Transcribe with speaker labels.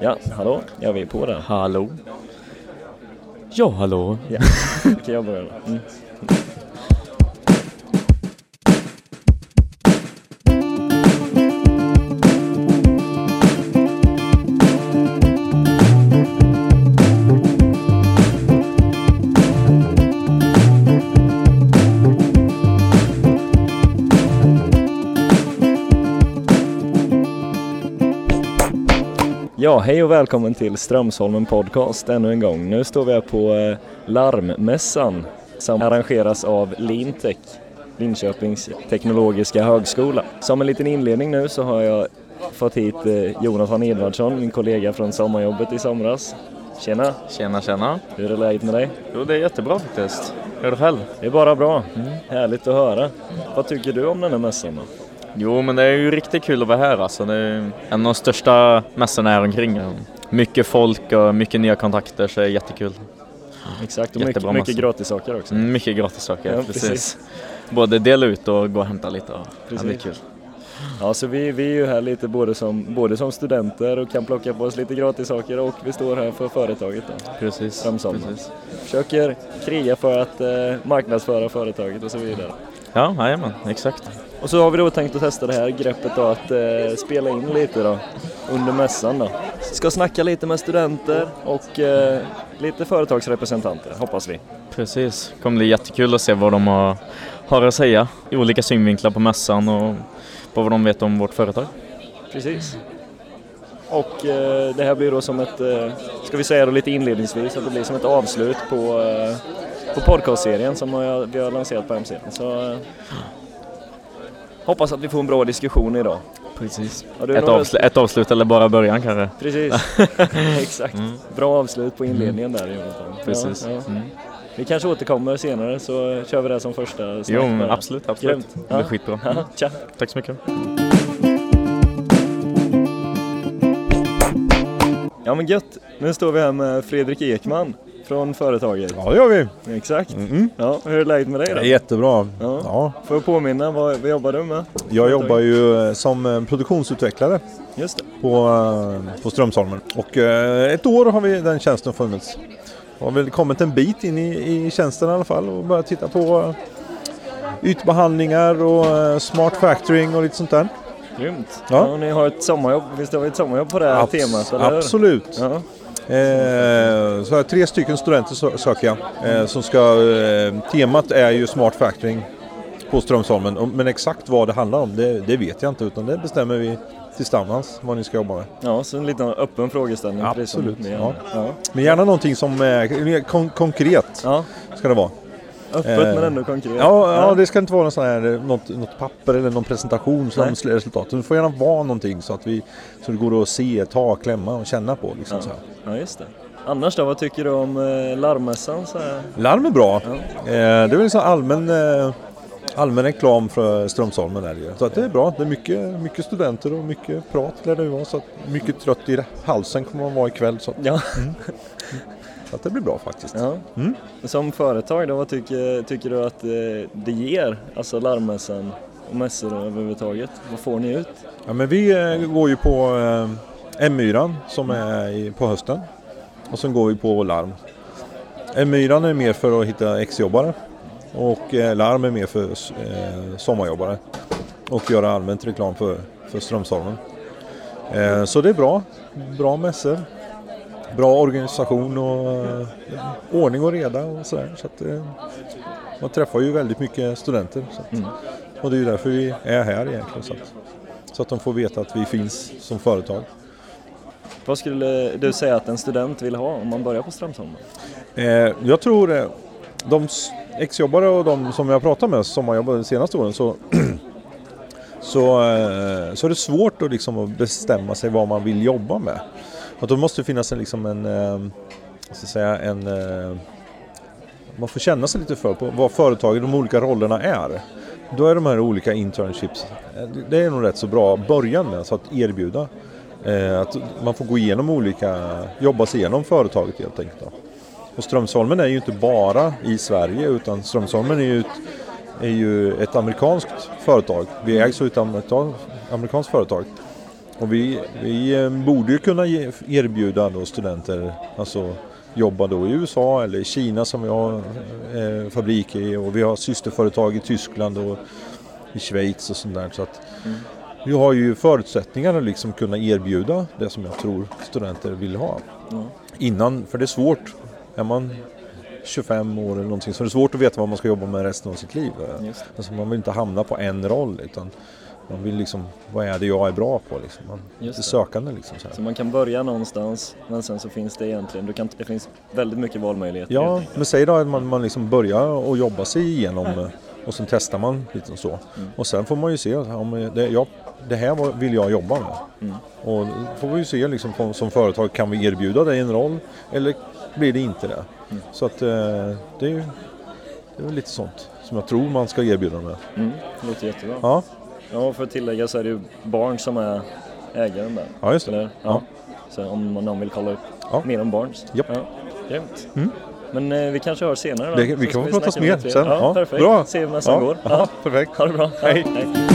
Speaker 1: Ja, hallå? Ja, vi är på där.
Speaker 2: Hallå? Ja, hallå?
Speaker 1: Ja. kan jag börja då? Mm. Ja, hej och välkommen till Strömsholmen Podcast ännu en gång. Nu står vi här på eh, Larmmässan som arrangeras av Lintec, Linköpings teknologiska högskola. Som en liten inledning nu så har jag fått hit eh, Jonathan Edvardsson, min kollega från sommarjobbet i somras. Tjena!
Speaker 3: Tjena tjena!
Speaker 1: Hur är läget med dig?
Speaker 3: Jo det är jättebra faktiskt. Hur är det själv?
Speaker 1: Det är bara bra. Mm. Härligt att höra. Vad tycker du om den här mässan då?
Speaker 3: Jo men det är ju riktigt kul att vara här alltså. Det är en av de största mässorna här omkring. Mycket folk och mycket nya kontakter så det är jättekul.
Speaker 1: Exakt, och
Speaker 3: Jättebra Mm.
Speaker 1: mycket,
Speaker 3: mässa.
Speaker 1: mycket gratis saker också.
Speaker 3: Mycket gratis saker,
Speaker 1: Ja,
Speaker 3: precis.
Speaker 1: precis.
Speaker 3: Både dela ut och gå och hämta lite. Och ja, det blir
Speaker 1: Precis.
Speaker 3: kul.
Speaker 1: Ja, så vi, vi är ju här lite både som, både som studenter och kan plocka på oss lite gratis saker och vi står här för företaget. Då.
Speaker 3: Precis.
Speaker 1: Samsommar.
Speaker 3: precis.
Speaker 1: Försöker kriga för att eh, marknadsföra företaget och så vidare.
Speaker 3: Ja, jajamän, exakt.
Speaker 1: Och så har vi då tänkt att testa det här greppet då, att eh, spela in lite då, under mässan. Då. Ska snacka lite med studenter och eh, lite företagsrepresentanter, hoppas vi.
Speaker 3: Precis. Det kommer bli jättekul att se vad de har, har att säga i olika synvinklar på mässan och på vad de vet om vårt företag.
Speaker 1: Precis. Och eh, det här blir då som ett, eh, ska vi säga då lite inledningsvis, att det blir som ett avslut på, eh, på podcastserien som har- vi har lanserat på hemsidan. Så eh, hoppas att vi får en bra diskussion idag.
Speaker 3: Precis.
Speaker 1: Har du
Speaker 3: Ett,
Speaker 1: några-
Speaker 3: avsl- ett avslut eller bara början kanske?
Speaker 1: Precis, Mm. exakt. Bra avslut på inledningen där Jonathan. Ja,
Speaker 3: Precis.
Speaker 1: ja.
Speaker 3: Mm.
Speaker 1: Vi kanske återkommer senare så eh, kör vi det som första snack
Speaker 3: Jo, men
Speaker 1: bara.
Speaker 3: absolut, absolut.
Speaker 1: Grymt.
Speaker 3: Det blir
Speaker 1: Ja.
Speaker 3: skitbra.
Speaker 1: Ja, tja.
Speaker 3: Tack så mycket.
Speaker 1: Ja men gött, nu står vi här med Fredrik Ekman från företaget.
Speaker 4: Ja det gör vi.
Speaker 1: Exakt. Ja, hur är läget med dig
Speaker 4: Det
Speaker 1: då?
Speaker 4: är jättebra.
Speaker 1: Ja.
Speaker 4: Ja.
Speaker 1: Får jag påminna, vad, vad jobbar du med?
Speaker 4: Jag jobbar ju eh, som eh, produktionsutvecklare
Speaker 1: Just det.
Speaker 4: på, eh, på Strömsholmen. Och eh, ett år har vi den tjänsten funnits. Har väl kommit en bit in i, i tjänsten i alla fall och börjat titta på eh, ytbehandlingar och eh, smart factoring och lite sånt där.
Speaker 1: Grymt. Ja.
Speaker 4: Ja.
Speaker 1: ni har ett sommarjobb, visst har vi ett sommarjobb på det här
Speaker 4: Abs-
Speaker 1: temat? Eller? hur?
Speaker 4: absolut.
Speaker 1: Ja.
Speaker 4: Eh, så här, tre stycken studenter sö- söker jag. Eh, som ska, eh, temat är ju Smart Factoring på Strömsholmen. Och- Men exakt vad det handlar om det, det vet jag inte utan det bestämmer vi tillsammans vad ni ska jobba med.
Speaker 1: ja, så en liten öppen frågeställning. precis som
Speaker 4: Absolut,
Speaker 1: ni
Speaker 4: ja.
Speaker 1: gör. Ja.
Speaker 4: Men gärna någonting som är mer kon- konkret
Speaker 1: ja,
Speaker 4: ska det vara.
Speaker 1: öppet
Speaker 4: Eh,
Speaker 1: men ändå konkret.
Speaker 4: Ja, ja, det ska inte vara någon sån här, eh, något, något papper eller någon presentation som
Speaker 1: Nej.
Speaker 4: slår resultaten. Det får gärna vara någonting så att vi, så det går att se, ta, klämma och känna på. Liksom, så här.
Speaker 1: ja, just det. Annars då, vad tycker du om eh, larmmässan? Så här?
Speaker 4: Larm är bra.
Speaker 1: Ja.
Speaker 4: Eh, Det är väl liksom allmän, eh, allmän reklam för Strömsholmen. Är det. ju. Så att det är bra. Det är mycket, mycket studenter och mycket prat lär det ju vara. Så att mycket trött i halsen kommer man vara ikväll. Så att,
Speaker 1: Ja.
Speaker 4: så att det blir bra faktiskt.
Speaker 1: ja.
Speaker 4: Mm.
Speaker 1: Som företag då, vad tycker, tycker du att eh, det ger, alltså larmmässan och mässor överhuvudtaget? Vad får ni ut?
Speaker 4: Ja, men vi eh, går ju på eh, M-myran som är i, på hösten. Och sen går vi på larm. M-myran är mer för att hitta exjobbare. Och eh, larm är mer för eh, sommarjobbare. Och göra allmänt reklam för, för Strömsholmen. Eh, så det är bra. Bra mässor. Bra organisation och eh, ordning och reda och sådär. Så att, eh, man träffar ju väldigt mycket studenter. Så att, Och det är ju därför vi är här egentligen. Så att, så att de får veta att vi finns som företag.
Speaker 1: Vad skulle du säga att en student vill ha om man börjar på Strömsholmen?
Speaker 4: Eh, jag tror eh, de s- exjobbare och de som jag pratat med som har jobbat de senaste åren så, så, eh, så är det svårt att, liksom, att bestämma sig vad man vill jobba med. Att då måste det finnas en, liksom en, eh, vad ska jag säga, en eh, man får känna sig lite för på vad företaget, de olika rollerna är. Då är de här olika internships, eh, det är nog rätt så bra början med, så att erbjuda. Eh, Att man får gå igenom olika, jobba sig igenom företaget helt enkelt. Då. Och Strömsholmen är ju inte bara i Sverige utan Strömsholmen är ju ett, är ju ett amerikanskt företag. Vi ägs ju av ett amerikanskt företag. Och vi, vi eh, borde ju kunna ge- erbjuda då studenter alltså jobba då i USA eller i Kina som vi har eh, fabrik i och vi har systerföretag i Tyskland och i Schweiz och sånt där. Så att vi har ju förutsättningarna att liksom kunna erbjuda det som jag tror studenter vill ha. Innan, för det är svårt. Är man 25 år eller någonting så är det svårt att veta vad man ska jobba med resten av sitt liv.
Speaker 1: Just.
Speaker 4: Alltså man vill inte hamna på en roll utan man vill liksom, vad är det jag är bra på liksom? Man är
Speaker 1: Just
Speaker 4: lite
Speaker 1: det.
Speaker 4: sökande liksom. Så här.
Speaker 1: Så man kan börja någonstans men sen så finns det egentligen, du kan, det finns väldigt mycket valmöjligheter. helt
Speaker 4: Ja,
Speaker 1: enkelt.
Speaker 4: men säg då att man, man liksom börjar och jobba sig igenom eh, och sen testar man lite och så.
Speaker 1: Mm.
Speaker 4: Och sen får man ju se, ja, men det, ja, det här var- vill jag jobba med.
Speaker 1: Mm.
Speaker 4: Och då får vi ju se liksom, på, som företag, kan vi erbjuda dig en roll eller blir det inte det?
Speaker 1: Mm.
Speaker 4: Så att eh, det är ju det är väl lite sånt som jag tror man ska erbjuda med.
Speaker 1: Mm, det låter jättebra. Ja.
Speaker 4: Ja,
Speaker 1: och för att tillägga så är det ju barn som är ägaren där.
Speaker 4: ja just det.
Speaker 1: Eller?
Speaker 4: Ja.
Speaker 1: Ja. Så om någon vill kolla upp
Speaker 4: Ja.
Speaker 1: mer om Barnes.
Speaker 4: Japp. Mm.
Speaker 1: Ja. Grymt. Men eh, vi kanske hörs senare då.
Speaker 4: Det- vi
Speaker 1: Så
Speaker 4: kan
Speaker 1: ska
Speaker 4: prata
Speaker 1: snacka
Speaker 4: mer
Speaker 1: lite.
Speaker 4: sen.
Speaker 1: Ja,
Speaker 4: Ja,
Speaker 1: perfekt.
Speaker 4: bra.
Speaker 1: Se hur mässan
Speaker 4: Ja,
Speaker 1: går.
Speaker 4: ja, perfekt.
Speaker 1: Ha det bra.
Speaker 4: Hej.
Speaker 1: Hej.